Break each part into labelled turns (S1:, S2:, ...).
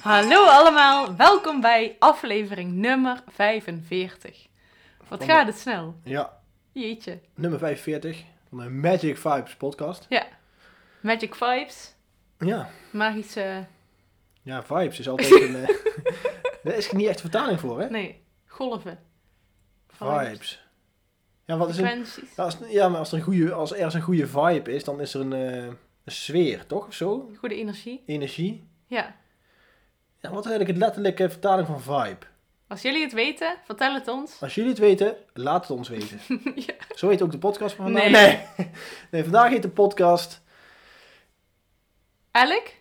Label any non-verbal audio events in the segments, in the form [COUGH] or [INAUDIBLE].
S1: Hallo allemaal, welkom bij aflevering nummer 45. Wat gaat het snel?
S2: Ja,
S1: Jeetje.
S2: nummer 45 van de Magic Vibes podcast.
S1: Ja. Magic Vibes,
S2: Ja,
S1: magische...
S2: ja vibes is altijd een... eh, [LAUGHS] Daar is niet echt vertaling voor, hè?
S1: Nee, golven.
S2: Vibes. Ja, wat is een...
S1: Frequenties.
S2: Als, ja, maar als er, een goede, als ergens een goede vibe is, dan is er een, eh, een sfeer, toch? Of zo?
S1: Goede energie.
S2: Energie.
S1: Ja.
S2: Ja, wat is eigenlijk het letterlijke vertaling van vibe?
S1: Als jullie het weten, vertel het ons. [LAUGHS]
S2: Als jullie het weten, laat het ons weten.
S1: Ja.
S2: Zo heet ook de podcast van vandaag.
S1: Nee.
S2: Nee, [LAUGHS] Nee, vandaag heet de podcast...
S1: Alec?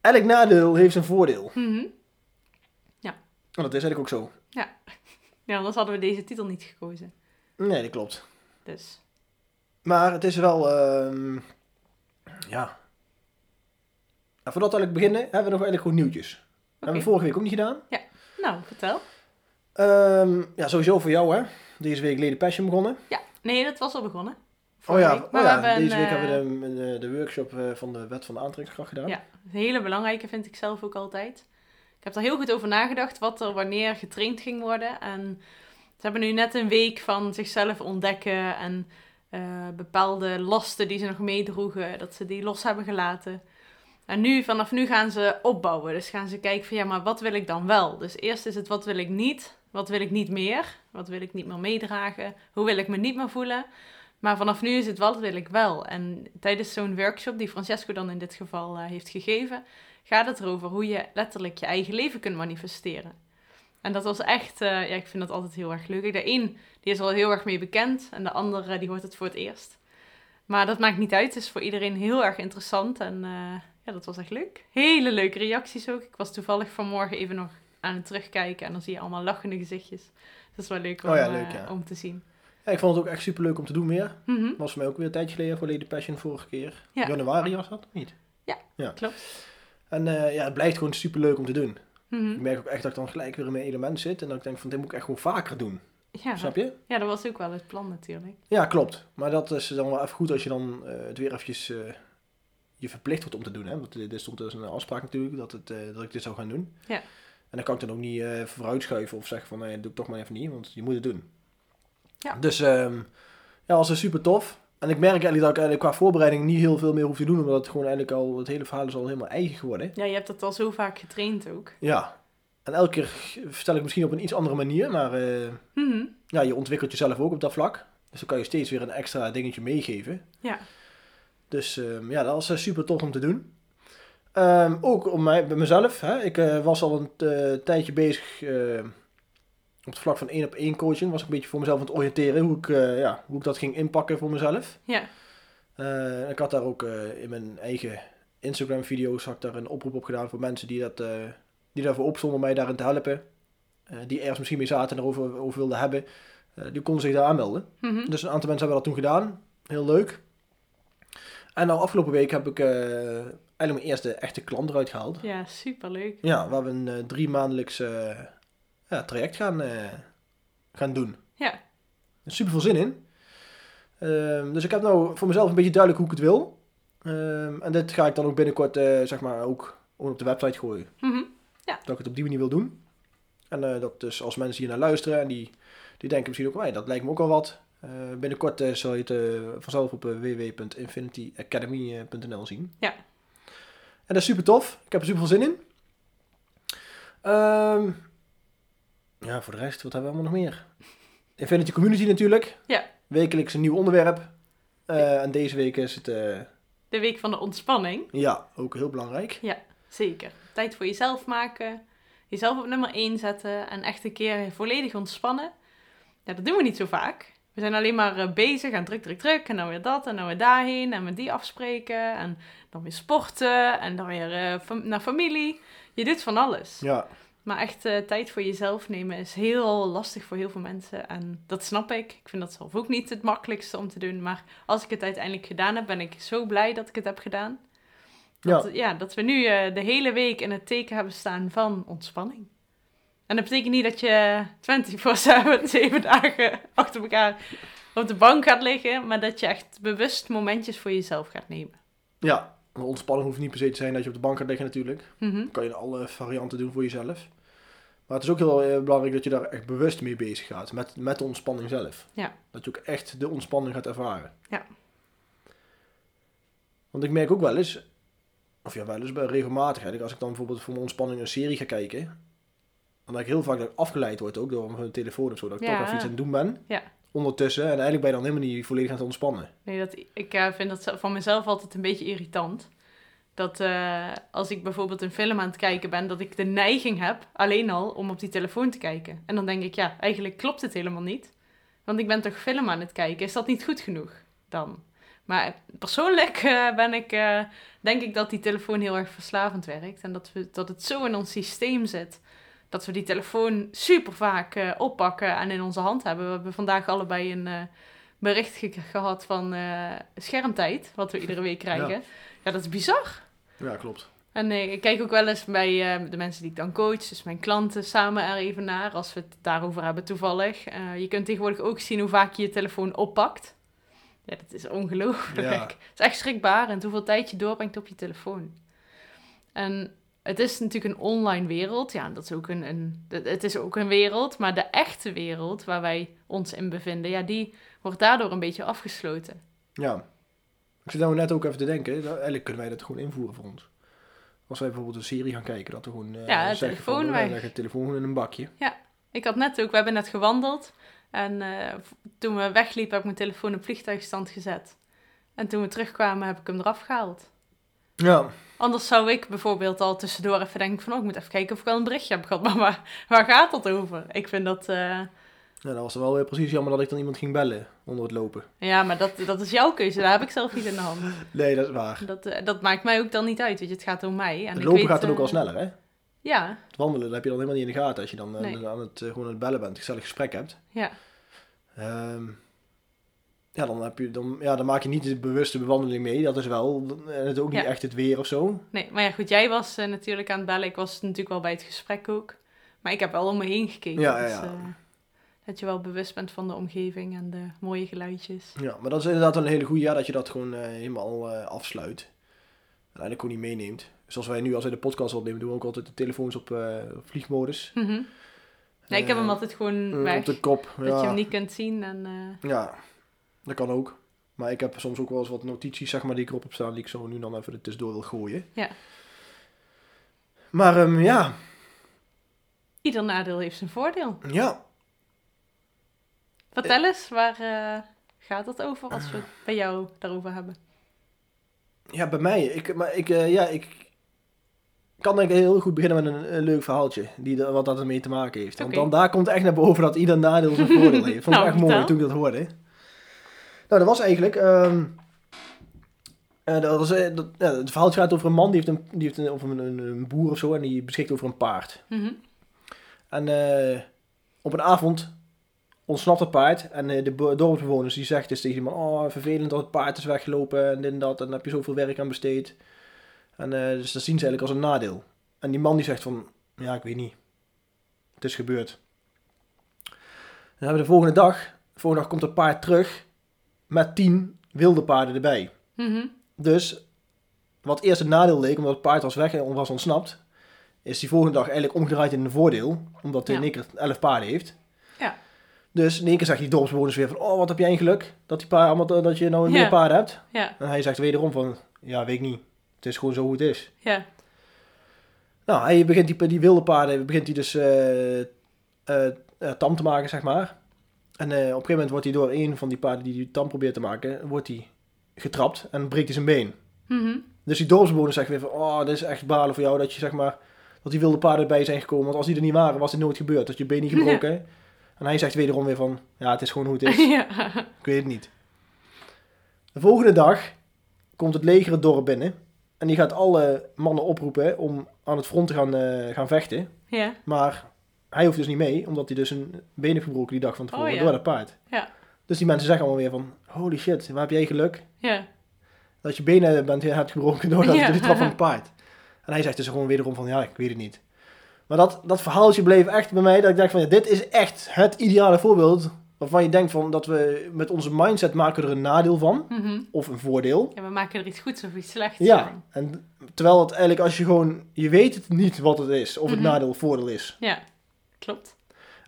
S2: Elk nadeel heeft zijn voordeel.
S1: Mhm.
S2: En dat is eigenlijk ook zo.
S1: Ja, anders hadden we deze titel niet gekozen.
S2: Nee, dat klopt.
S1: Dus.
S2: Maar het is wel... ehm, ja. En voordat we eigenlijk beginnen, hebben we nog eigenlijk gewoon nieuwtjes. Hebben
S1: Oké.
S2: we vorige week ook niet gedaan.
S1: Nou, vertel.
S2: Ehm, ja, sowieso voor jou hè. Deze week Lady Passion begonnen.
S1: Ja. Nee, dat was al begonnen.
S2: oh ja,
S1: Vorige week.
S2: oh, ja.
S1: een,
S2: deze week
S1: eh,
S2: hebben we de, de workshop eh, van de wet van de aantrekkingskracht gedaan.
S1: Ja, een hele belangrijke vind ik zelf ook altijd. Ik heb er heel goed over nagedacht wat er wanneer getraind ging worden. En ze hebben nu net een week van zichzelf ontdekken en eh, bepaalde lasten die ze nog meedroegen, dat ze die los hebben gelaten. En nu, vanaf nu gaan ze opbouwen. Dus gaan ze kijken van ja, maar wat wil ik dan wel? Dus eerst is het wat wil ik niet? Wat wil ik niet meer? Wat wil ik niet meer meedragen? Hoe wil ik me niet meer voelen? Maar vanaf nu is het wat wil ik wel. En tijdens zo'n workshop die Francesco dan in dit geval eh, heeft gegeven, gaat het erover hoe je letterlijk je eigen leven kunt manifesteren. En dat was echt, eh, ja, ik vind dat altijd heel erg leuk. De een die is al heel erg mee bekend en de andere die hoort het voor het eerst. Maar dat maakt niet uit, het is voor iedereen heel erg interessant en eh, ja, dat was echt leuk. Hele leuke reacties ook. Ik was toevallig vanmorgen even nog aan het terugkijken en dan zie je allemaal lachende gezichtjes. Dat is wel leuk om,
S2: Oh ja,
S1: eh,
S2: leuk, ja.
S1: om te zien.
S2: Ja, ik vond het ook echt super leuk om te doen weer.
S1: Mhm,
S2: Was voor mij ook weer een tijdje geleden voor Lady Passion vorige keer.
S1: Ja.
S2: Januari was dat, of niet?
S1: Klopt.
S2: En eh, ja, het blijft gewoon super leuk om te doen.
S1: Mhm.
S2: Ik merk ook echt dat ik dan gelijk weer in mijn element zit. En dat ik denk van dit moet ik echt gewoon vaker doen.
S1: Ja.
S2: Snap je?
S1: Ja, dat was ook wel het plan natuurlijk.
S2: Ja, klopt. Maar dat is dan wel even goed als je dan eh, het weer eventjes eh, je verplicht wordt om te doen. Hè? Want dit dit stond dus in een afspraak natuurlijk dat, het, eh, dat ik dit zou gaan doen.
S1: Ja.
S2: En dan kan ik dan ook niet eh vooruitschuiven of zeggen van nee, dat doe ik toch maar even niet. Want je moet het doen.
S1: Ja.
S2: Dus ehm, ja, was dus super tof. En ik merk eigenlijk dat ik eigenlijk qua voorbereiding niet heel veel meer hoef te doen. Omdat het gewoon eigenlijk al, het hele verhaal is al helemaal eigen geworden.
S1: Ja, je hebt dat al zo vaak getraind ook.
S2: Ja. En elke keer vertel ik misschien op een iets andere manier, maar eh,
S1: Mhm.
S2: ja, je ontwikkelt jezelf ook op dat vlak. Dus dan kan je steeds weer een extra dingetje meegeven.
S1: Ja.
S2: Dus ehm, ja, dat was eh, super tof om te doen. Ehm, ook om mij, bij mezelf. Hè. Ik eh, was al een eh, tijdje bezig eh, op het vlak van één op één coaching. Was ik een beetje voor mezelf aan het oriënteren hoe ik, eh, ja, hoe ik dat ging inpakken voor mezelf.
S1: Ja.
S2: Eh, ik had daar ook eh, in mijn eigen Instagram video's had ik daar een oproep op gedaan voor mensen die, dat, eh, die daarvoor opstonden om mij daarin te helpen. Eh, die ergens misschien mee zaten en erover over wilden hebben. Eh, die konden zich daar aanmelden.
S1: Mhm.
S2: Dus een aantal mensen hebben dat toen gedaan. Heel leuk. En nou afgelopen week heb ik eh, eigenlijk mijn eerste echte klant eruit gehaald.
S1: Ja, superleuk.
S2: Ja, waar we een eh, drie maandelijks eh, ja, traject gaan, eh, gaan doen.
S1: Ja.
S2: Er is super veel zin in. Ehm, dus ik heb nou voor mezelf een beetje duidelijk hoe ik het wil. Ehm, en dit ga ik dan ook binnenkort eh, zeg maar ook gewoon op de website gooien.
S1: Mhm.
S2: Dat ik het op die manier wil doen. En eh, dat dus als mensen hier naar luisteren en die, die denken misschien ook, mij, dat lijkt me ook al wat. Eh, binnenkort eh, zal je het eh, vanzelf op eh, www.infinityacademy.nl zien.
S1: Ja.
S2: En dat is super tof. Ik heb er super veel zin in. Ehm, ja, voor de rest, wat hebben we allemaal nog meer? Infinity Community natuurlijk.
S1: Ja.
S2: Wekelijks een nieuw onderwerp. Eh, en deze week is het, eh,
S1: De week van de ontspanning.
S2: ja, ook heel belangrijk.
S1: Zeker. Tijd voor jezelf maken. Jezelf op nummer 1 zetten. En echt een keer volledig ontspannen. Ja, dat doen we niet zo vaak. We We zijn alleen maar eh, bezig en druk, druk, druk. En dan weer dat en dan weer daarheen. En met die afspreken. En dan weer sporten. En dan weer eh, fam- naar familie. Je doet van alles.
S2: Ja,
S1: Maar echt eh, tijd voor jezelf nemen is heel lastig voor heel veel mensen. En dat snap ik. Ik vind dat zelf ook niet het makkelijkste om te doen. Maar als ik het uiteindelijk gedaan heb, ben ik zo blij dat ik het heb gedaan. Dat, ja. dat we nu eh, de hele week in het teken hebben staan van ontspanning. En dat betekent niet dat je 24-7, 7 [LAUGHS] dagen achter elkaar op de bank gaat liggen. Maar dat je echt bewust momentjes voor jezelf gaat nemen.
S2: ja. Want ontspannen hoeft niet per se te zijn dat je op de bank gaat liggen natuurlijk.
S1: Mhm.
S2: kan je alle varianten doen voor jezelf. Maar het is ook heel eh, belangrijk dat je daar echt bewust mee bezig gaat. Met, met de ontspanning zelf.
S1: Ja.
S2: Dat je ook echt de ontspanning gaat ervaren.
S1: Ja.
S2: Want ik merk ook wel eens, of ja, wel eens bij regelmatig, hè, dat als ik dan bijvoorbeeld voor mijn ontspanning een serie ga kijken, dan dat ik heel vaak dat ik afgeleid word ook door mijn telefoon of zo. Dat ik
S1: Ja.
S2: toch even iets aan het doen ben.
S1: Ja.
S2: Ondertussen. En eigenlijk ben je dan helemaal niet volledig aan het ontspannen.
S1: Nee, dat, ik eh, vind dat zelf- van mezelf altijd een beetje irritant. Dat eh, als ik bijvoorbeeld een film aan het kijken ben, dat ik de neiging heb alleen al om op die telefoon te kijken. En dan denk ik, ja, eigenlijk klopt het helemaal niet. Want ik ben toch film aan het kijken. Is dat niet goed genoeg dan? Maar persoonlijk eh, ben ik, eh, denk ik dat die telefoon heel erg verslavend werkt. En dat, we, dat het zo in ons systeem zit. Dat we die telefoon super vaak eh, oppakken en in onze hand hebben. We hebben vandaag allebei een, eh, bericht ge- gehad van eh, schermtijd, wat we iedere week krijgen. Ja, dat is bizar.
S2: Ja, klopt.
S1: En eh, ik kijk ook wel eens bij eh, de mensen die ik dan coach, dus mijn klanten, samen er even naar, als we het daarover hebben toevallig. Eh, je kunt tegenwoordig ook zien hoe vaak je je telefoon oppakt. Ja, dat is ongelooflijk.
S2: Ja.
S1: Het is echt schrikbarend hoeveel tijd je doorbrengt op je telefoon. En het is natuurlijk een online wereld. Ja, dat is ook een, een, het- het is ook een wereld. Maar de echte wereld waar wij ons in bevinden, ja, die wordt daardoor een beetje afgesloten.
S2: Ja. Ik zit nou net ook even te denken, nou, eigenlijk kunnen wij dat gewoon invoeren voor ons. Als wij bijvoorbeeld een serie gaan kijken, dat we gewoon eh,
S1: Ja, de
S2: zeggen
S1: telefoon
S2: van,
S1: weg.
S2: leg het telefoon gewoon in een bakje.
S1: Ik had net ook, we hebben net gewandeld. En eh, v- toen we wegliepen, heb ik mijn telefoon op vliegtuigstand gezet. En toen we terugkwamen, heb ik hem eraf gehaald.
S2: Ja,
S1: Anders zou ik bijvoorbeeld al tussendoor even denken van... Oh, ik moet even kijken of ik al een berichtje heb gehad. [LAUGHS] Maar waar, waar gaat dat over? Ik vind dat... eh,
S2: ja dat was wel weer precies jammer dat ik dan iemand ging bellen onder het lopen.
S1: ja, maar dat, dat is jouw keuze. Daar heb ik zelf niet in de hand.
S2: Nee, dat is waar.
S1: Dat, eh, dat maakt mij ook dan niet uit. Weet je, het gaat om mij. En
S2: het
S1: ik
S2: lopen
S1: weet,
S2: gaat dan
S1: eh,
S2: ook al sneller, hè?
S1: Ja,
S2: Het wandelen dat heb je dan helemaal niet in de gaten als je dan eh,
S1: Nee.
S2: aan het, eh, gewoon aan het bellen bent, een gezellig gesprek hebt.
S1: ja.
S2: Ehm, ja, dan, heb je, dan, ja, dan maak je niet de bewuste bewandeling mee, dat is wel. En het is ook niet
S1: Ja.
S2: echt het weer of zo.
S1: Nee, maar ja, goed. Jij was eh, natuurlijk aan het bellen. Ik was natuurlijk wel bij het gesprek ook. Maar ik heb wel om me heen gekeken.
S2: Ja, ja,
S1: dus,
S2: ja.
S1: eh, dat je wel bewust bent van de omgeving en de mooie geluidjes.
S2: Ja, maar dat is inderdaad wel een hele goede ja, dat je dat gewoon eh, helemaal eh, afsluit. En eigenlijk ook niet meeneemt. Zoals wij nu als wij de podcast opnemen, doen we ook altijd de telefoons op eh, op vliegmodus.
S1: Mhm. nee, ik heb hem
S2: Eh,
S1: altijd gewoon
S2: Eh,
S1: weg.
S2: op de kop.
S1: Dat
S2: ja.
S1: je hem niet kunt zien. En, eh,
S2: ja, dat kan ook. Maar ik heb soms ook wel eens wat notities, zeg maar, die ik erop heb staan, die ik zo nu dan even er tussendoor wil gooien.
S1: Ja.
S2: Maar ehm, ja,
S1: ieder nadeel heeft zijn voordeel.
S2: ja.
S1: Vertel eens, waar eh, gaat het over als we het bij jou daarover hebben?
S2: Ja, bij mij. Ik, maar ik, eh, ja, ik kan denk ik heel goed beginnen met een, een leuk verhaaltje. Die, er- wat dat ermee te maken heeft. Want
S1: Oké.
S2: dan daar komt echt naar boven dat ieder nadeel zijn voordeel heeft. Vond
S1: [LAUGHS]
S2: ik
S1: Nou,
S2: echt mooi
S1: vertel.
S2: toen ik dat hoorde. Nou, dat was eigenlijk... ehm, eh, dat was, eh, dat, ja, het verhaaltje gaat over een man, die heeft, een, die heeft een, over een, een- een boer of zo, en die beschikt over een paard.
S1: Mhm.
S2: En eh, op een avond ontsnapt het paard en eh, de bo- dorpsbewoners die zegt dus tegen die man, oh vervelend dat het paard is weggelopen en dit en dat en daar heb je zoveel werk aan besteed. En eh, dus dat zien ze eigenlijk als een nadeel. En die man die zegt van, ja ik weet niet, het is gebeurd. Dan hebben we de volgende dag, de volgende dag komt het paard terug met tien wilde paarden erbij.
S1: Mhm.
S2: Dus wat eerst een nadeel leek, omdat het paard was weg en was ontsnapt, is die volgende dag eigenlijk omgedraaid in een voordeel, omdat hij
S1: Ja.
S2: in één keer elf paarden heeft.
S1: Ja.
S2: Dus in één keer zegt die dorpsbewoners weer van, oh wat heb jij een geluk dat, die paarden, allemaal- dat je nou
S1: Ja.
S2: meer paarden hebt.
S1: Ja,
S2: En hij zegt wederom van, ja weet ik niet, het is gewoon zo hoe het is.
S1: ja.
S2: Nou, hij begint die, die wilde paarden, begint hij dus eh, eh, eh, tam te maken, zeg maar. En eh, op een gegeven moment wordt hij door een van die paarden die die tam probeert te maken, wordt hij getrapt en breekt hij zijn been.
S1: Mhm.
S2: Dus die dorpsbewoners zeggen weer van, oh, dit is echt balen voor
S1: [LAUGHS]
S2: jou dat je zeg maar, dat die wilde paarden bij zijn gekomen. Want als die er niet waren, was dit nooit gebeurd. Dat je been niet gebroken. En hij zegt wederom weer van, ja, het is gewoon hoe het is.
S1: [LAUGHS] ja.
S2: Ik weet het niet. De volgende dag komt het leger het dorp binnen. En die gaat alle mannen oproepen om aan het front te gaan, eh, gaan vechten.
S1: ja.
S2: Maar hij hoeft dus niet mee, omdat hij dus een been heeft gebroken die dag van tevoren
S1: Oh, ja.
S2: door dat paard.
S1: Ja.
S2: Dus die mensen zeggen allemaal weer van, holy shit, waar heb jij geluk
S1: Ja.
S2: dat je benen bent, hebt gebroken doordat
S1: Ja.
S2: door die trap van het paard. En hij zegt dus gewoon wederom van, ja, ik weet het niet. Maar dat, dat verhaaltje bleef echt bij mij, dat ik dacht van, ja, dit is echt het ideale voorbeeld waarvan je denkt van, dat we met onze mindset maken we er een nadeel van,
S1: Mhm.
S2: of een voordeel.
S1: ja, we maken er iets goeds of iets slechts
S2: Ja,
S1: van.
S2: en terwijl het eigenlijk als je gewoon, je weet het niet wat het is, of het
S1: Mhm.
S2: nadeel of voordeel is.
S1: Ja, klopt.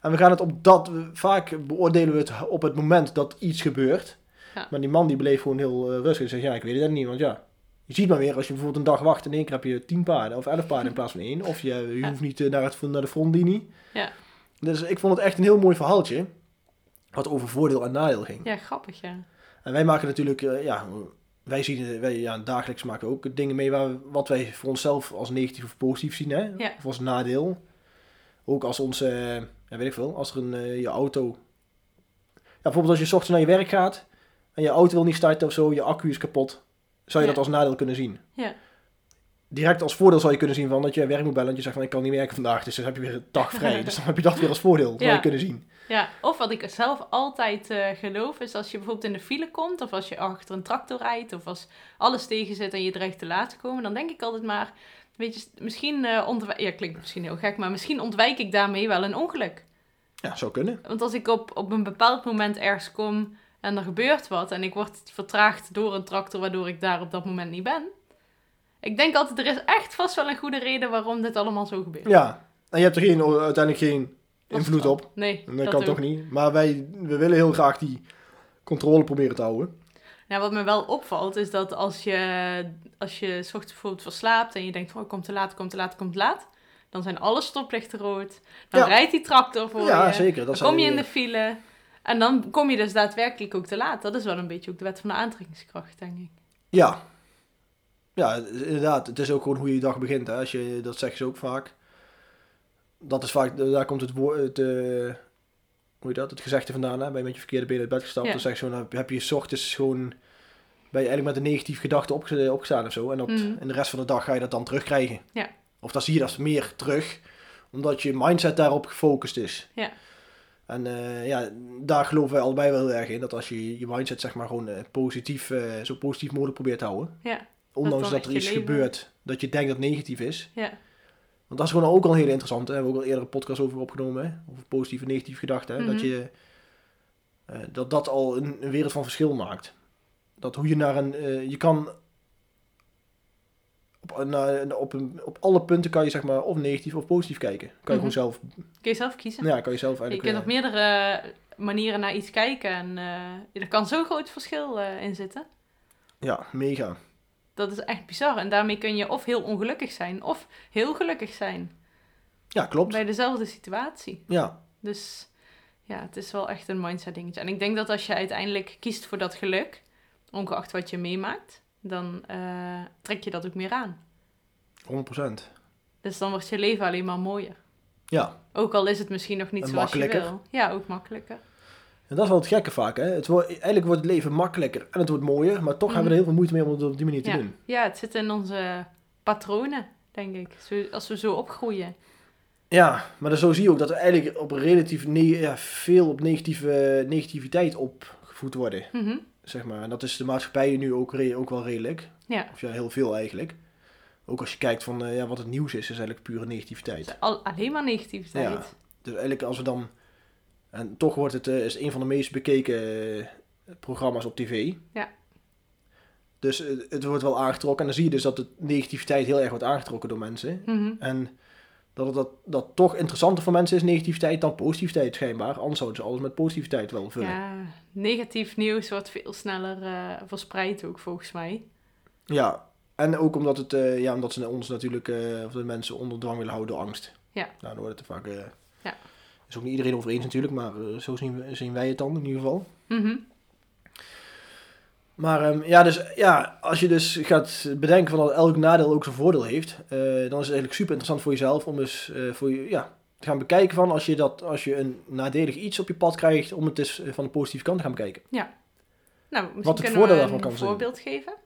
S2: En we gaan het op dat, vaak beoordelen we het op het moment dat iets gebeurt.
S1: Ja.
S2: Maar die man die bleef gewoon heel eh, rustig en zegt, ja, ik weet het niet, want ja. Je ziet maar weer, als je bijvoorbeeld een dag wacht, in één keer heb je tien paarden of elf paarden in plaats van één. Of je, je
S1: Ja.
S2: hoeft niet eh, naar, het, naar de frontlinie.
S1: Ja.
S2: Dus ik vond het echt een heel mooi verhaaltje, wat over voordeel en nadeel ging.
S1: Ja, grappig, ja.
S2: En wij maken natuurlijk, eh, ja, wij zien, eh, wij ja, dagelijks maken we ook dingen mee waar, we- wat wij voor onszelf als negatief of positief zien, hè?
S1: Ja.
S2: Of als nadeel. Ook als onze, eh, ja, weet ik veel, als er een, eh, je auto, ja, bijvoorbeeld als je 's ochtends naar je werk gaat en je auto wil niet starten of zo, je accu is kapot, zou je
S1: Ja.
S2: dat als nadeel kunnen zien.
S1: Ja.
S2: Direct als voordeel zou je kunnen zien van dat je werk moet bellen en je zegt van ik kan niet werken vandaag, dus dan heb je weer een dag
S1: [LAUGHS]
S2: vrij. dus dan heb je dat weer als voordeel, dat zou
S1: Ja.
S2: je kunnen zien.
S1: Ja, of wat ik zelf altijd eh, geloof is als je bijvoorbeeld in de file komt, of als je achter een tractor rijdt, of als alles tegen zit en je dreigt te laat te komen, dan denk ik altijd maar, weet je, misschien, eh ontwij- ja klinkt misschien heel gek, maar misschien ontwijk ik daarmee wel een ongeluk.
S2: Ja, zou kunnen.
S1: Want als ik op, op een bepaald moment ergens kom en er gebeurt wat en ik word vertraagd door een tractor waardoor ik daar op dat moment niet ben. Ik denk altijd, er is echt vast wel een goede reden waarom dit allemaal zo gebeurt.
S2: Ja, en je hebt er geen, eh, uiteindelijk geen
S1: Als
S2: invloed
S1: het-
S2: op.
S1: Nee,
S2: En Dat, kan
S1: ook
S2: toch niet. Maar wij we willen heel graag die controle proberen te houden.
S1: Nou, wat me wel opvalt is dat als je, als je 's ochtends bijvoorbeeld verslaapt en je denkt, oh, ik kom te laat, ik kom te laat, ik kom te laat. Dan zijn alle stoplichten rood. Dan
S2: Ja.
S1: rijdt die tractor voor
S2: ja,
S1: je.
S2: zeker.
S1: Dan
S2: Dat
S1: kom je in
S2: zijn
S1: de file. En dan kom je dus daadwerkelijk ook te laat. Dat is wel een beetje ook de wet van de aantrekkingskracht, denk ik.
S2: Ja. Ja, inderdaad. Het is ook gewoon hoe je dag begint. Hè. Als je, dat zeggen ze ook vaak. Dat is vaak, daar komt het woord, het, eh, hoe heet dat, het gezegde vandaan. Hè? Ben je met je verkeerde benen uit bed gestapt.
S1: Ja.
S2: Dan zeg je zo, dan nou, heb je 's ochtends gewoon, ben je eigenlijk met een negatieve gedachte opge- opgestaan of zo. En, dat,
S1: Mhm.
S2: en de rest van de dag ga je dat dan terugkrijgen.
S1: Ja.
S2: Of dan zie je dat meer terug. Omdat je mindset daarop gefocust is.
S1: Ja.
S2: En eh, ja, daar geloven wij allebei wel heel erg in. Dat als je je mindset zeg maar gewoon eh, positief, eh, zo positief mogelijk probeert te houden.
S1: Ja,
S2: Ondanks
S1: dan
S2: dat,
S1: echt
S2: er
S1: je
S2: iets
S1: leven-
S2: gebeurt dat je denkt dat negatief is.
S1: ja,
S2: Want dat is gewoon ook al heel interessant. Daar hebben we ook al eerder een podcast over opgenomen. Hè? Over positieve en negatieve gedachten. Hè? Dat
S1: Mhm.
S2: je eh, dat, dat al een, een wereld van verschil maakt. Dat hoe je naar een. eh, je kan. Op, naar, op, een, op alle punten kan je zeg maar of negatief of positief kijken. Kan je
S1: Mhm.
S2: gewoon zelf.
S1: kun je zelf kiezen.
S2: Nou ja, kan je zelf
S1: je
S2: eigenlijk.
S1: kunt
S2: eh,
S1: op meerdere manieren naar iets kijken. En eh, er kan zo'n groot verschil eh, in zitten.
S2: eh, ja, mega.
S1: Dat is echt bizar. En daarmee kun je of heel ongelukkig zijn, of heel gelukkig zijn.
S2: Ja, klopt.
S1: Bij dezelfde situatie.
S2: Ja,
S1: Dus ja, het is wel echt een mindset dingetje. En ik denk dat als je uiteindelijk kiest voor dat geluk, ongeacht wat je meemaakt, dan eh, trek je dat ook meer aan.
S2: 100%.
S1: Dus dan wordt je leven alleen maar mooier.
S2: Ja.
S1: Ook al is het misschien nog niet
S2: En
S1: zoals je
S2: makkelijker.
S1: wil. Ja, ook makkelijker.
S2: En dat is wel het gekke vaak. Hè? Het wordt, eigenlijk wordt het leven makkelijker en het wordt mooier. Maar toch hebben we er heel veel moeite mee om het op die manier te
S1: Mhm. Ja.
S2: doen.
S1: Ja, het zit in onze patronen, denk ik. Zo, als we zo opgroeien.
S2: Ja, maar dan zo zie je ook dat we eigenlijk op relatief ne- ja, veel op negatieve, negativiteit opgevoed worden.
S1: Mhm.
S2: Zeg maar. En dat is de maatschappij nu ook, re- ook wel redelijk.
S1: Ja.
S2: Of ja, heel veel eigenlijk. Ook als je kijkt van eh, ja, wat het nieuws is, is eigenlijk pure
S1: Het
S2: negativiteit.
S1: is al, alleen maar negativiteit.
S2: Dus eigenlijk als we dan... En toch wordt het eh, is een van de meest bekeken eh, programma's op tv.
S1: Ja.
S2: Dus eh, het wordt wel aangetrokken. En dan zie je dus dat de negativiteit heel erg wordt aangetrokken door mensen.
S1: Mhm.
S2: En dat het dat, dat toch interessanter voor mensen is, negativiteit, dan positiviteit schijnbaar. Anders zouden ze alles met positiviteit wel vullen. Ja,
S1: Ja, negatief nieuws wordt veel sneller eh, verspreid ook, volgens mij.
S2: en ook omdat, het, eh, ja, omdat ze ons natuurlijk, eh, of de mensen onder dwang willen houden door angst.
S1: Ja.
S2: Nou, dan wordt het er vaak... eh,
S1: Ja.
S2: is ook niet iedereen over eens natuurlijk, maar eh, zo zien, we- zien wij het dan in ieder geval.
S1: Mhm.
S2: Maar ehm, ja, dus, ja, als je dus gaat bedenken van dat elk nadeel ook zijn voordeel heeft, eh, dan is het eigenlijk super interessant voor jezelf om dus eh, voor je, ja, gaan bekijken van als je, dat, als je een nadelig iets op je pad krijgt, om het dus eh, van de positieve kant te gaan bekijken.
S1: Nou, misschien
S2: Wat het
S1: kunnen
S2: voordeel
S1: we
S2: daarvan
S1: een
S2: kan zijn.
S1: voorbeeld geven. [LAUGHS]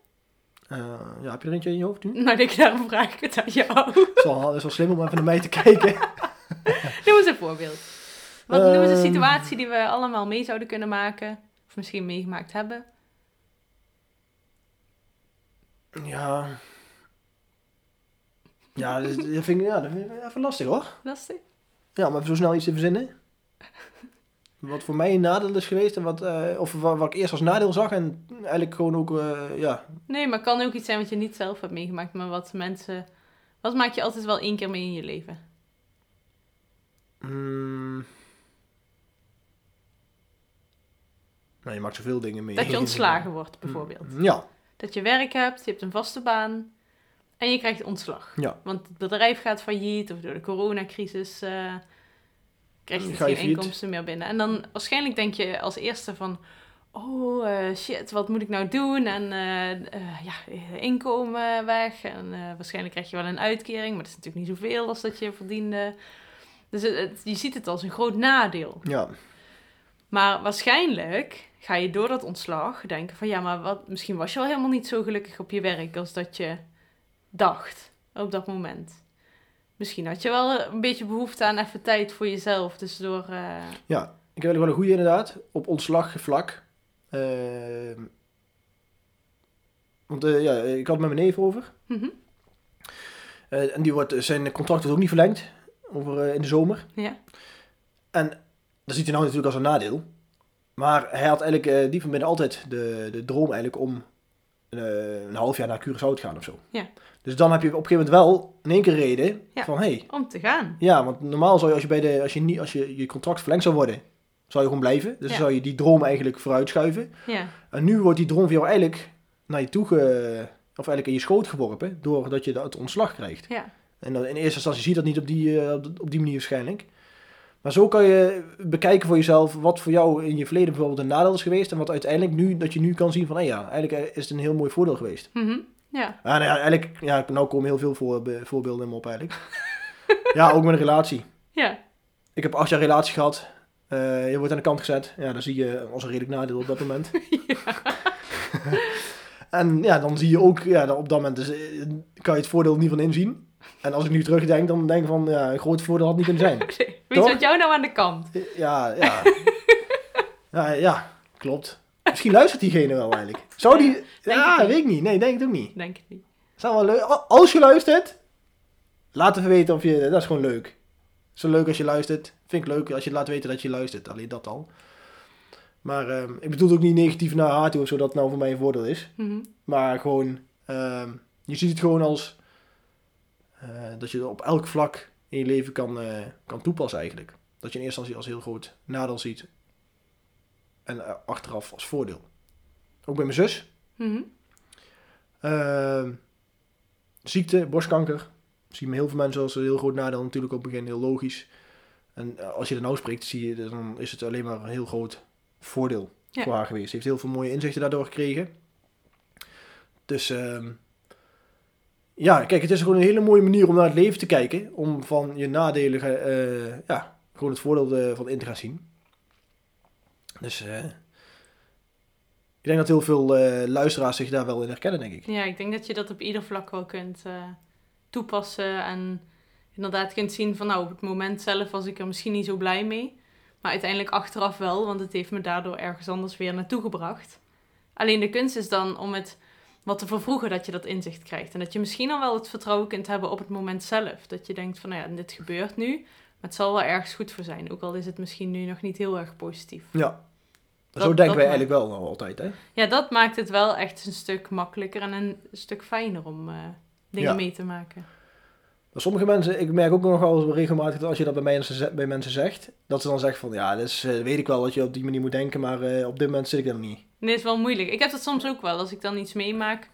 S2: Eh, ja, heb je er eentje in je hoofd nu?
S1: Nou, denk ik, daarom vraag ik het aan jou. [LAUGHS]
S2: Het is wel, het is wel slim om even naar mij te [LAUGHS] kijken.
S1: Noem eens een voorbeeld. Wat noem eens een
S2: Ehm.
S1: situatie die we allemaal mee zouden kunnen maken. Of misschien meegemaakt hebben.
S2: Ja. Ja, dat, dat vind ik, ja, dat vind ik even lastig hoor.
S1: Lastig.
S2: Ja, maar even zo snel iets te verzinnen. Wat voor mij een nadeel is geweest, en wat, eh, of wa- wat ik eerst als nadeel zag, en eigenlijk gewoon ook, eh, ja.
S1: Nee, maar kan ook iets zijn wat je niet zelf hebt meegemaakt. Maar wat mensen... Wat maak je altijd wel één keer mee in je leven?
S2: mm. nou, je maakt zoveel dingen mee.
S1: Dat je
S2: [LAUGHS]
S1: ontslagen wordt, bijvoorbeeld.
S2: Ja,
S1: Dat je werk hebt, je hebt een vaste baan. En je krijgt ontslag.
S2: ja.
S1: Want het bedrijf gaat failliet of door de coronacrisis eh, krijg je
S2: Ga je
S1: dus geen
S2: failliet.
S1: inkomsten meer binnen. En dan waarschijnlijk denk je als eerste van, oh eh, shit, wat moet ik nou doen? En eh, eh, ja, inkomen weg en eh, waarschijnlijk krijg je wel een uitkering, maar dat is natuurlijk niet zoveel als dat je verdiende. Dus het- het- je ziet het als een groot nadeel.
S2: ja.
S1: Maar waarschijnlijk ga je door dat ontslag denken van ja, maar wat, misschien was je wel helemaal niet zo gelukkig op je werk als dat je dacht op dat moment. Misschien had je wel eh, een beetje behoefte aan even tijd voor jezelf. Dus door. eh,
S2: Ik heb eigenlijk wel een goede inderdaad, op ontslagvlak. Ehm, want eh, ja, ik had het met mijn neef over.
S1: mhm,
S2: Eh, en die wordt, zijn contract wordt ook niet verlengd over, eh, in de zomer.
S1: ja.
S2: Dat ziet hij nou natuurlijk als een nadeel. Maar hij had eigenlijk eh, die van binnen altijd de, de droom eigenlijk om eh, een half jaar naar Curaçao te gaan of zo.
S1: Ja.
S2: Dus dan heb je op een gegeven moment wel in één keer reden
S1: Ja.
S2: van hey,
S1: Om te gaan.
S2: ja, want normaal zou je als je, bij de, als je, niet, als je je contract verlengd zou worden, zou je gewoon blijven. Dus
S1: Ja.
S2: dan zou je die droom eigenlijk vooruitschuiven.
S1: Ja.
S2: En nu wordt die droom voor jou eigenlijk naar je toe, ge, of eigenlijk in je schoot geworpen, doordat je dat- het ontslag krijgt.
S1: Ja.
S2: En dan in eerste instantie zie je dat niet op die, eh, op de- op die manier waarschijnlijk. Maar zo kan je bekijken voor jezelf wat voor jou in je verleden bijvoorbeeld een nadeel is geweest. En wat uiteindelijk nu, dat je nu kan zien van, hé ja, eigenlijk eh, is het een heel mooi voordeel geweest.
S1: mhm, ja.
S2: Ah, nou ja, eigenlijk, ja, nou komen heel veel voorbe- voorbeelden in me op eigenlijk. ja, ook met een relatie.
S1: Ja.
S2: Ik heb acht jaar relatie gehad. Eh, je wordt aan de kant gezet. Ja, dan zie je als een redelijk nadeel op dat moment. [LAUGHS] en ja, dan zie je ook, ja, dan op dat moment dus, eh, kan je het voordeel niet van inzien. En als ik nu terugdenk, dan denk ik van, ja, een groot voordeel had niet kunnen
S1: [LAUGHS]
S2: zijn.
S1: Nee, Wie
S2: Toch?
S1: zat jou nou aan de kant?
S2: Eh, Ja, ja. ja, ja, klopt. Misschien luistert diegene wel eigenlijk. Zou die...
S1: het
S2: Ja,
S1: niet.
S2: weet ik niet. Nee, denk ik ook niet.
S1: Denk ik niet.
S2: Zou wel leuk... a- Als je luistert, laat even weten of je... Dat is gewoon leuk. Zo leuk als je luistert. Vind ik leuk als je laat weten dat je luistert. Alleen dat al. Maar ehm, ik bedoel het ook niet negatief naar haar toe of zo dat het nou voor mij een voordeel is.
S1: Mhm,
S2: Maar gewoon, ehm, je ziet het gewoon als eh, dat je het op elk vlak in je leven kan, eh, kan toepassen eigenlijk. Dat je in eerste instantie als heel groot nadeel ziet en eh, achteraf als voordeel. Ook bij mijn zus.
S1: mhm.
S2: ehm, ziekte, borstkanker. Zien heel veel mensen als een heel groot nadeel. Natuurlijk op het begin heel logisch. En eh, als je er nou spreekt, zie je, dan is het alleen maar een heel groot voordeel
S1: Ja.
S2: voor haar geweest. Ze heeft heel veel mooie inzichten daardoor gekregen. Dus ehm, ja, kijk, het is gewoon een hele mooie manier om naar het leven te kijken. Om van je nadelen eh, ja, gewoon het voordeel eh, van in te gaan zien. Dus eh, ik denk dat heel veel eh, luisteraars zich daar wel in herkennen, denk ik.
S1: Ja, ik denk dat je dat op ieder vlak wel kunt eh, toepassen. En inderdaad kunt zien van nou, op het moment zelf was ik er misschien niet zo blij mee. Maar uiteindelijk achteraf wel, want het heeft me daardoor ergens anders weer naartoe gebracht. Alleen de kunst is dan om het wat te vervroegen dat je dat inzicht krijgt. En dat je misschien al wel het vertrouwen kunt hebben op het moment zelf. Dat je denkt van nou ja, dit gebeurt nu, maar het zal wel ergens goed voor zijn. Ook al is het misschien nu nog niet heel erg positief.
S2: Ja.
S1: Dat-
S2: Zo denken
S1: dat
S2: wij
S1: maakt-
S2: eigenlijk wel nou altijd, hè?
S1: Ja, dat maakt het wel echt een stuk makkelijker en een stuk fijner om eh, dingen
S2: Ja.
S1: mee te maken.
S2: Maar sommige mensen, ik merk ook nogal regelmatig dat als je dat bij mensen, ze- bij mensen zegt, dat ze dan zeggen van, ja, dat is, eh, weet ik wel dat je op die manier moet denken, maar eh, op dit moment zit ik daar nog niet.
S1: Nee, is wel moeilijk. Ik heb dat soms ook wel. Als ik dan iets meemaak,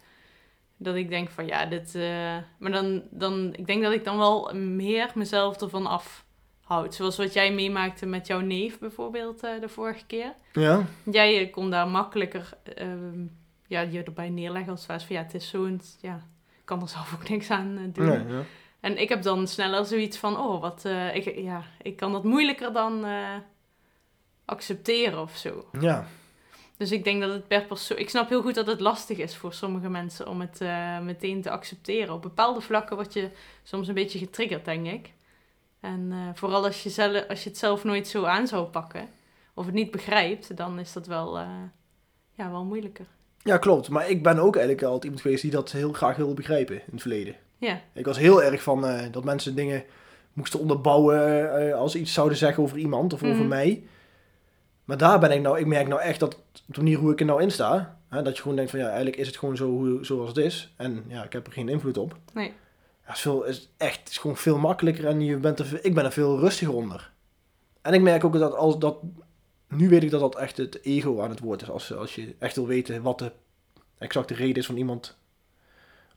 S1: dat ik denk van ja, dit. eh, Maar dan, dan, ik denk dat ik dan wel meer mezelf ervan afhoud. Zoals wat jij meemaakte met jouw neef bijvoorbeeld eh, de vorige keer.
S2: Ja.
S1: Jij eh, kon daar makkelijker ehm, ja, je erbij neerleggen als het was van ja, het is zo'n. Ja, ik kan er zelf ook niks aan eh, doen.
S2: Nee, ja.
S1: En ik heb dan sneller zoiets van, oh, wat, eh, ik, ja, ik kan dat moeilijker dan eh, accepteren of zo.
S2: Ja,
S1: Dus ik denk dat het per persoon... Ik snap heel goed dat het lastig is voor sommige mensen om het eh, meteen te accepteren. Op bepaalde vlakken word je soms een beetje getriggerd, denk ik. En eh, vooral als je, zelf, als je het zelf nooit zo aan zou pakken, of het niet begrijpt, dan is dat wel, eh, ja, wel moeilijker.
S2: ja klopt. Maar ik ben ook eigenlijk altijd iemand geweest die dat heel graag wilde begrijpen in het verleden.
S1: Ja,
S2: Ik was heel erg van eh, dat mensen dingen moesten onderbouwen eh, als ze iets zouden zeggen over iemand of over
S1: Mhm.
S2: mij. Maar daar ben ik nou, ik merk nou echt dat op de manier hoe ik er nou in sta, hè, dat je gewoon denkt van ja, eigenlijk is het gewoon zo hoe, zoals het is. En ja, ik heb er geen invloed op.
S1: nee.
S2: Ja, het is, veel, is echt het is gewoon veel makkelijker en je bent er, ve- ik ben er veel rustiger onder. En ik merk ook dat als dat. Nu weet ik dat dat echt het ego aan het woord is. Als, als je echt wil weten wat de exacte reden is van iemand.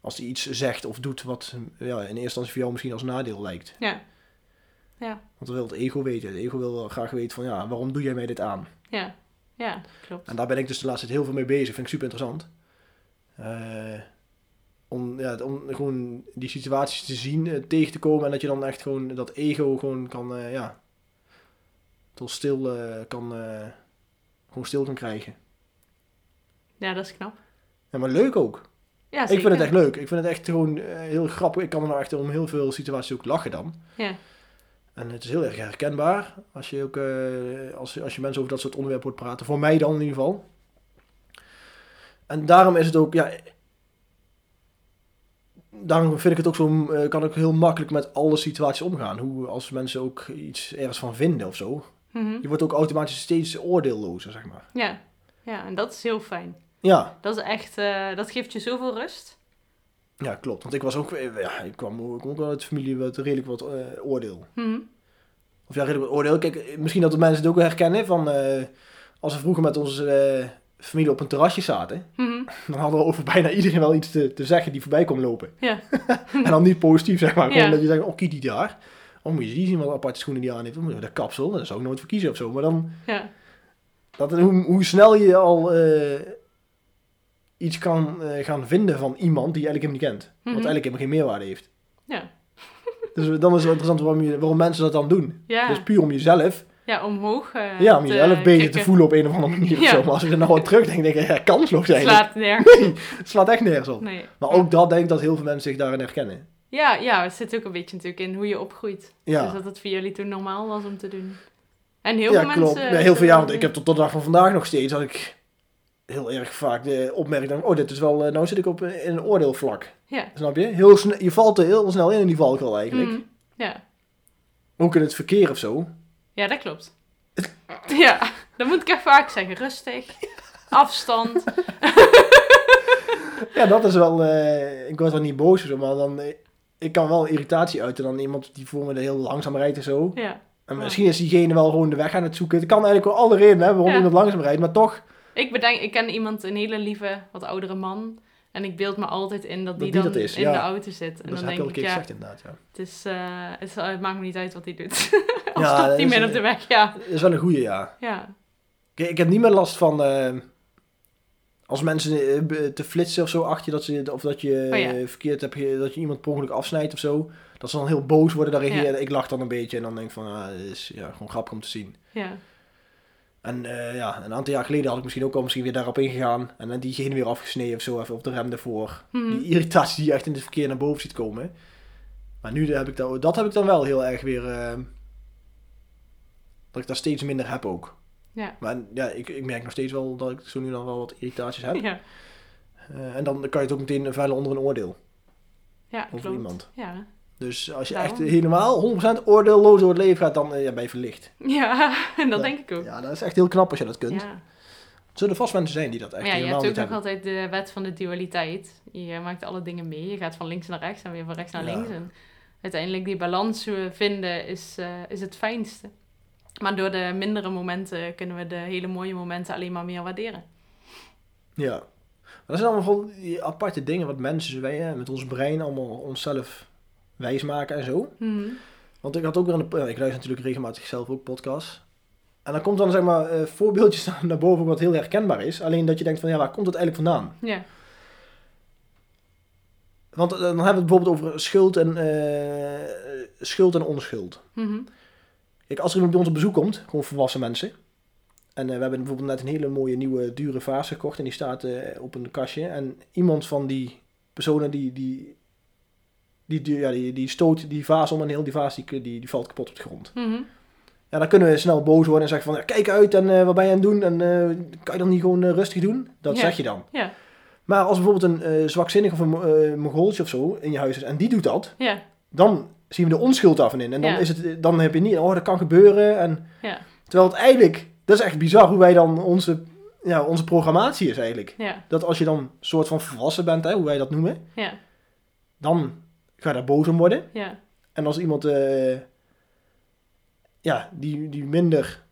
S2: Als hij iets zegt of doet wat ja, in eerste instantie voor jou misschien als nadeel lijkt.
S1: Ja. Ja,
S2: Want dat wil het ego weten. Het ego wil wel graag weten van ja, waarom doe jij mij dit aan?
S1: ja, ja, klopt.
S2: En daar ben ik dus de laatste tijd heel veel mee bezig. Vind ik super interessant. Eh, om, ja, om gewoon die situaties te zien, eh, tegen te komen. En dat je dan echt gewoon dat ego gewoon kan, eh, ja, tot stil eh, kan, eh, gewoon stil kan krijgen.
S1: Ja, dat is knap.
S2: Ja, maar leuk ook.
S1: Ja,
S2: ik vind het
S1: zeker.
S2: echt leuk. Ik vind het echt gewoon eh, heel grappig. Ik kan er nou echt om heel veel situaties ook lachen dan.
S1: Ja.
S2: En het is heel erg herkenbaar als je, ook, eh, als, je- als je mensen over dat soort onderwerpen hoort praten. Voor mij dan in ieder geval. En daarom is het ook, ja. Daarom vind ik het ook zo, eh, kan ik heel makkelijk met alle situaties omgaan. Hoe als mensen ook iets ergens van vinden of zo.
S1: Mhm.
S2: Je wordt ook automatisch steeds oordeellozer, zeg maar.
S1: ja. Ja, en dat is heel fijn.
S2: Ja,
S1: Dat is echt, eh, dat geeft je zoveel rust.
S2: ja klopt. Want ik was ook, eh, ja, ik kwam ook ik kom ook wel uit een familie met redelijk wat eh, oordeel.
S1: Mhm.
S2: Of ja, redelijk wat oordeel. Kijk, misschien dat de mensen het ook wel herkennen van... eh, als we vroeger met onze eh, familie op een terrasje zaten... [LAUGHS]
S1: Mhm.
S2: dan hadden we over bijna iedereen wel iets te, te zeggen die voorbij kwam
S1: [LAUGHS]
S2: lopen.
S1: Ja.
S2: en dan niet positief, zeg maar. Gewoon
S1: Ja.
S2: dat je zegt, oh, kijk die daar. Oh, moet je die zien wat aparte schoenen die aan heeft. Oh, dat kapsel, daar zou ik nooit voor kiezen of zo. Maar dan...
S1: Ja.
S2: Dat, hoe, hoe snel je al eh, iets kan eh, gaan vinden van iemand die je eigenlijk helemaal niet kent. Wat
S1: Mhm.
S2: eigenlijk helemaal geen meerwaarde heeft.
S1: Ja.
S2: Dus dan is het wel interessant waarom, je, waarom mensen dat dan doen.
S1: Ja.
S2: Dus puur om jezelf
S1: ja, omhoog. eh,
S2: Ja, om jezelf
S1: eh,
S2: beter te
S1: kicken.
S2: voelen op een
S1: [LAUGHS]
S2: of andere manier. of
S1: Ja.
S2: zo. Maar als ik er nou aan terugdenk, denk ik, ja, kansloos
S1: Het
S2: eigenlijk.
S1: Slaat nergens.
S2: Het slaat echt nergens op.
S1: Nee.
S2: Maar ook dat denk ik dat heel veel mensen zich daarin herkennen.
S1: Ja, ja, het zit ook een beetje natuurlijk in hoe je opgroeit.
S2: Ja,
S1: Dus dat het voor jullie toen normaal was om te doen. En heel
S2: ja
S1: veel
S2: klopt.
S1: mensen... eh,
S2: Ja, heel veel, ja, want ik heb tot de dag van vandaag nog steeds dat ik heel erg vaak de opmerking denk, oh, dit is wel, eh, nou zit ik op een- in een oordeelvlak.
S1: Ja.
S2: Snap je? Heel sne- je valt er heel snel in in die valkuil eigenlijk.
S1: Mhm. Ja.
S2: Ook in het verkeer of zo.
S1: ja, dat
S2: [LAUGHS]
S1: klopt. ja, dat moet ik echt vaak zeggen. Rustig. Afstand.
S2: Ja, dat is wel. eh, ik word dan niet boos of zo, maar dan. eh, ik kan wel irritatie uiten dan iemand die voor me er heel langzaam rijdt en zo.
S1: Ja.
S2: En
S1: Ja.
S2: misschien is diegene wel gewoon de weg aan het zoeken. Het kan eigenlijk wel alle redenen hebben waarom
S1: Ja.
S2: iemand langzaam rijdt, maar toch
S1: Ik bedenk, ik ken iemand, een hele lieve, wat oudere man. En ik beeld me altijd in dat die
S2: die
S1: dan
S2: dat is,
S1: in
S2: ja.
S1: de auto zit. En
S2: dat
S1: dan
S2: heb ik al
S1: denk
S2: een
S1: ik,
S2: keer
S1: ja,
S2: gezegd inderdaad. Ja.
S1: het, is, eh, het, is- het maakt me niet uit wat hij
S2: [LAUGHS]
S1: doet. Al
S2: Ja,
S1: stopt
S2: dat
S1: hij
S2: is-
S1: midden op de weg, ja.
S2: Dat is wel een goede ja.
S1: Ja,
S2: Kijk, ik heb niet meer last van eh, als mensen eh, be- te flitsen of zo achter je dat ze of dat je
S1: Oh ja.
S2: eh, verkeerd hebt ge- dat je iemand per ongeluk afsnijdt of zo. Dat ze dan heel boos worden daar reageren. Ik lach dan een beetje en dan denk ik van ah, dit is ja, gewoon grappig om te zien.
S1: ja,
S2: En eh, ja, een aantal jaar geleden had ik misschien ook al misschien weer daarop ingegaan en dan diegene weer afgesneden of zo even op de rem daarvoor.
S1: Mhm.
S2: Die irritatie die je echt in het verkeer naar boven ziet komen. Maar nu heb ik dat, dat heb ik dan wel heel erg weer. eh, dat ik daar steeds minder heb ook.
S1: Ja.
S2: Maar ja, ik, ik merk nog steeds wel dat ik zo nu dan wel wat irritaties heb.
S1: ja,
S2: Eh, en dan kan je het ook meteen vuilen onder een oordeel.
S1: ja,
S2: Over
S1: klopt.
S2: iemand.
S1: Ja, [LAUGHS]
S2: Dus als je
S1: Daarom.
S2: echt helemaal 100% oordeelloos door het leven gaat, dan eh, ja, ben je verlicht.
S1: ja [LAUGHS] en dat
S2: Ja.
S1: denk ik ook.
S2: Ja, dat is echt heel knap als je dat kunt.
S1: Ja.
S2: Er zullen vast mensen zijn die dat echt
S1: Maar ja, je
S2: helemaal
S1: hebt ook
S2: niet
S1: nog
S2: hebben.
S1: altijd de wet van de dualiteit. Je maakt alle dingen mee. Je gaat van links naar rechts en weer van rechts naar
S2: Ja.
S1: links. En uiteindelijk die balans eh, vinden is, eh, is het fijnste. Maar door de mindere momenten kunnen we de hele mooie momenten alleen maar meer waarderen.
S2: Ja. Maar dat zijn allemaal gewoon die aparte dingen wat mensen wij, eh, met ons brein allemaal onszelf wijs maken en zo.
S1: Mhm.
S2: Want ik had ook weer een... Ik luister natuurlijk regelmatig zelf ook podcasts. En dan komt dan zeg maar eh, voorbeeldjes [LAUGHS] naar- naar boven wat heel herkenbaar is. Alleen dat je denkt van ja, waar komt het eigenlijk vandaan?
S1: Ja,
S2: Want eh, dan hebben we het bijvoorbeeld over schuld en, eh, schuld en onschuld.
S1: Mhm.
S2: Kijk, als er iemand bij ons op bezoek komt, gewoon volwassen mensen. En eh, we hebben bijvoorbeeld net een hele mooie nieuwe dure vaas gekocht en die staat eh, op een kastje. En iemand van die personen die, die, die, die- ja, die, die stoot die vaas om en heel die vaas die, die, die valt kapot op de grond.
S1: Mhm.
S2: Ja, dan kunnen we snel boos worden en zeggen van, ja, kijk uit en eh, wat ben je aan het doen? En eh, kan je dan niet gewoon eh, rustig doen? Dat
S1: Ja.
S2: zeg je dan.
S1: Ja.
S2: Maar als bijvoorbeeld een eh, zwakzinnig of een eh mongooltje of zo in je huis is en die doet dat,
S1: Ja.
S2: dan zien we de onschuld daarvan in. En dan,
S1: Ja.
S2: is het, dan heb je niet, oh dat kan gebeuren. En,
S1: Ja.
S2: Terwijl het eigenlijk, dat is echt bizar hoe wij dan onze, ja, onze programmatie is eigenlijk.
S1: Ja.
S2: Dat als je dan soort van volwassen bent, hè, hoe wij dat noemen,
S1: Ja.
S2: dan ga je daar boos om worden.
S1: Ja.
S2: En als iemand eh, ja, die, die minder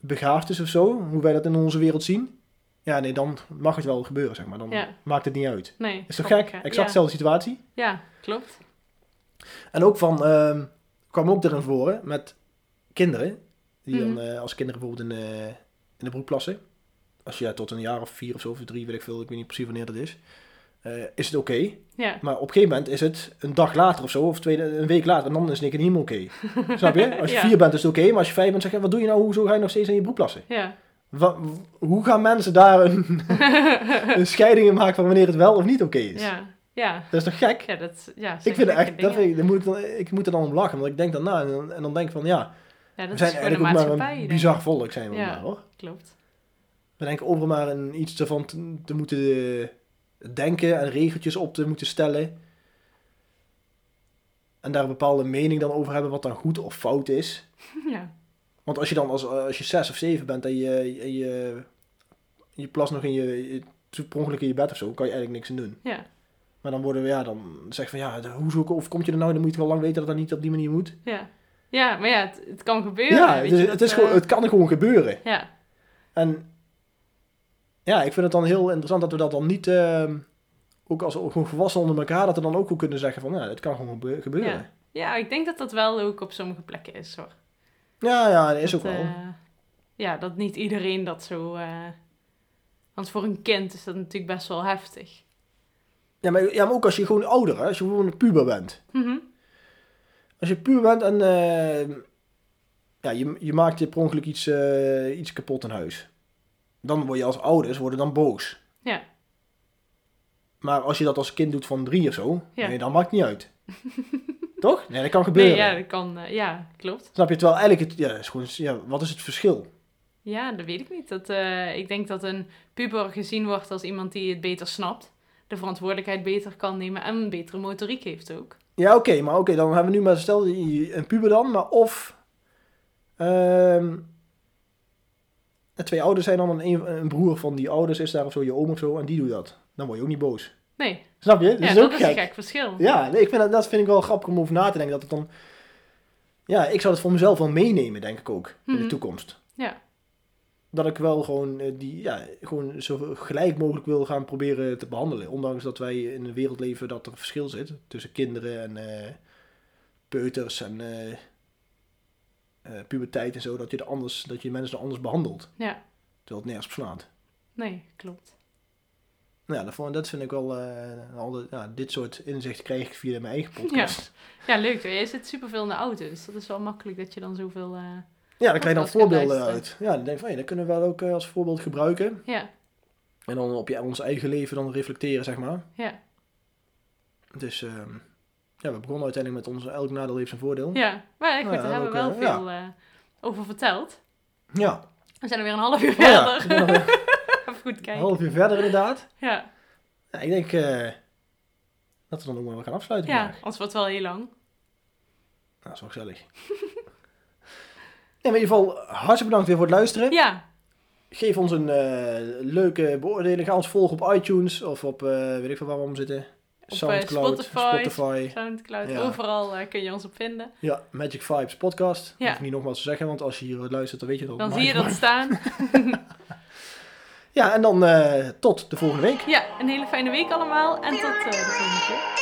S2: begaafd is of zo, hoe wij dat in onze wereld zien, ja nee, dan mag het wel gebeuren, zeg maar. Dan
S1: Ja.
S2: maakt het niet uit.
S1: Nee.
S2: Is toch
S1: snap
S2: gek?
S1: ik, hè?
S2: Exact
S1: ja.
S2: dezelfde situatie.
S1: Ja, klopt.
S2: En ook van, ehm, kwam ook erin voren met kinderen, die
S1: Mhm.
S2: dan eh, als kinderen bijvoorbeeld in, eh, in de broekklasse, als je ja, tot een jaar of vier of zo, of drie, weet ik veel, ik weet niet precies wanneer dat is, eh, is het oké.
S1: Ja.
S2: Maar op een gegeven moment is het een dag later of zo, of twee, een week later, en dan is het niet helemaal oké.
S1: [LAUGHS]
S2: Snap je? Als je
S1: Ja.
S2: vier bent is het oké, maar als je vijf bent, zeg je, wat doe je nou, hoezo ga je nog steeds in je broek plassen?
S1: Ja.
S2: Wa- w- hoe gaan mensen daar
S1: [LAUGHS]
S2: een, een scheiding in maken van wanneer het wel of niet oké is?
S1: Ja. Ja.
S2: Dat is toch gek?
S1: Ja, dat, ja, zijn
S2: Ik vind het
S1: gekke
S2: echt,
S1: dingen.
S2: dat vind ik, daar moet ik, dan, ik moet er dan om lachen, want ik denk daarna en, dan- en dan denk ik van ja,
S1: ja, dat
S2: we
S1: is gewoon
S2: zijn
S1: de
S2: eigenlijk ook maar
S1: maatschappij.
S2: een
S1: denk ik.
S2: bizar volk zijn we
S1: Ja.
S2: maar hoor.
S1: Klopt. [LAUGHS]
S2: We denken overal maar een, iets ervan te, te moeten eh, denken en regeltjes op te moeten stellen. En daar een bepaalde mening dan over hebben wat dan goed of fout is.
S1: Ja.
S2: Want als je dan als, als je zes of zeven bent en je, en je, je plas nog in je, je per ongeluk in je bed of zo, kan je eigenlijk niks aan doen.
S1: Ja.
S2: Maar dan worden we, ja, dan zeg je van ja, hoezo of komt je er nou, dan moet je wel lang weten dat dat niet op die manier moet.
S1: Ja. Ja, maar ja, het, het kan gebeuren.
S2: Ja,
S1: weet
S2: het,
S1: je,
S2: is,
S1: dat,
S2: het, is
S1: eh,
S2: gewoon, het kan gewoon gebeuren.
S1: Ja.
S2: En ja, ik vind het dan heel interessant dat we dat dan niet, ehm, ook als gewoon volwassenen onder elkaar, dat we dan ook wel kunnen zeggen van, ja, het kan gewoon gebe- gebeuren.
S1: ja, ik denk dat dat wel ook op sommige plekken is hoor.
S2: Ja, ja, dat is ook
S1: Dat,
S2: wel.
S1: eh, ja, dat niet iedereen dat zo. eh, want voor een kind is dat natuurlijk best wel heftig.
S2: Ja maar, ja, maar ook als je gewoon ouder, hè, als je gewoon een puber bent.
S1: Mhm.
S2: Als je puber bent en ehm, ja, je, je maakt je per ongeluk iets, eh, iets kapot in huis. Dan word je als ouders worden dan boos.
S1: Ja.
S2: Maar als je dat als kind doet van drie of zo,
S1: Ja.
S2: nee, dan maakt het niet uit. [LAUGHS] Toch? Nee, dat kan gebeuren.
S1: Nee, ja, dat kan. eh, ja, klopt.
S2: Snap je? Terwijl eigenlijk, het, ja, is gewoon, ja, wat is het verschil?
S1: Ja, dat weet ik niet. Dat, eh, ik denk dat een puber gezien wordt als iemand die het beter snapt, de verantwoordelijkheid beter kan nemen en een betere motoriek heeft ook.
S2: Ja, oké, maar oké, dan hebben we nu maar, stel je- een puber dan, maar of ehm, de twee ouders zijn dan en een, een broer van die ouders is daar of zo, je oom of zo, en die doet dat. Dan word je ook niet boos.
S1: Nee,
S2: Snap je? Dat
S1: ja,
S2: is
S1: dat
S2: ook
S1: is
S2: gek.
S1: een gek verschil.
S2: Ja, nee, ik vind dat, dat vind ik wel grappig om over na te denken. Dat het dan, ja, ik zou het voor mezelf wel meenemen, denk ik ook, in
S1: Mhm.
S2: de toekomst.
S1: Ja.
S2: Dat ik wel gewoon, eh, die, ja, gewoon zo gelijk mogelijk wil gaan proberen te behandelen. Ondanks dat wij in een wereld leven dat er verschil zit tussen kinderen en eh, peuters en eh, eh, puberteit en zo. Dat je, de anders, dat je mensen anders behandelt.
S1: Ja.
S2: Terwijl het nergens op slaat.
S1: Nee, klopt.
S2: Nou ja, dat, vond- dat vind ik wel, eh, altijd, ja, dit soort inzichten krijg ik via mijn eigen podcast.
S1: Ja, leuk. Jij zit superveel in de auto, dus dat is wel makkelijk dat je dan zoveel... eh,
S2: Ja, dan krijg je dan
S1: Podcast kunnen
S2: voorbeelden uit.
S1: luisteren.
S2: Ja, dan denk ik van, hé, dat kunnen we wel ook eh, als voorbeeld gebruiken.
S1: Ja,
S2: En dan op je, ons eigen leven dan reflecteren, zeg maar.
S1: ja,
S2: Dus ehm, ja, we begonnen uiteindelijk met ons elk nadeel heeft zijn voordeel.
S1: ja. Maar echt
S2: Nou ja,
S1: goed, daar hebben we
S2: ook,
S1: wel
S2: eh, ja.
S1: veel eh, over verteld.
S2: Ja.
S1: We zijn er weer een half uur
S2: Oh ja,
S1: verder.
S2: we zijn nog een
S1: [LAUGHS] Even goed kijken.
S2: half uur verder inderdaad.
S1: Ja,
S2: Ja, ik denk eh, dat we dan ook maar gaan afsluiten
S1: ja.
S2: vandaag.
S1: Anders wordt het wel heel lang.
S2: Nou, dat is wel gezellig. Nee, maar in ieder geval, hartstikke bedankt weer voor het luisteren.
S1: Ja,
S2: Geef ons een eh, leuke beoordeling. Ga ons volgen op iTunes of op, eh, weet ik veel waar we om zitten.
S1: eh,
S2: Soundcloud,
S1: Spotify.
S2: Spotify.
S1: Soundcloud.
S2: Ja.
S1: Overal eh, kun je ons op vinden.
S2: Ja, Magic Vibes podcast.
S1: Ja.
S2: Hoef ik niet nogmaals te zeggen, want als je hier luistert, dan weet je dat.
S1: Dan
S2: Maar-
S1: zie je dat staan.
S2: Ja, en dan eh, tot de volgende week.
S1: Ja, een hele fijne week allemaal. En tot eh, de volgende keer.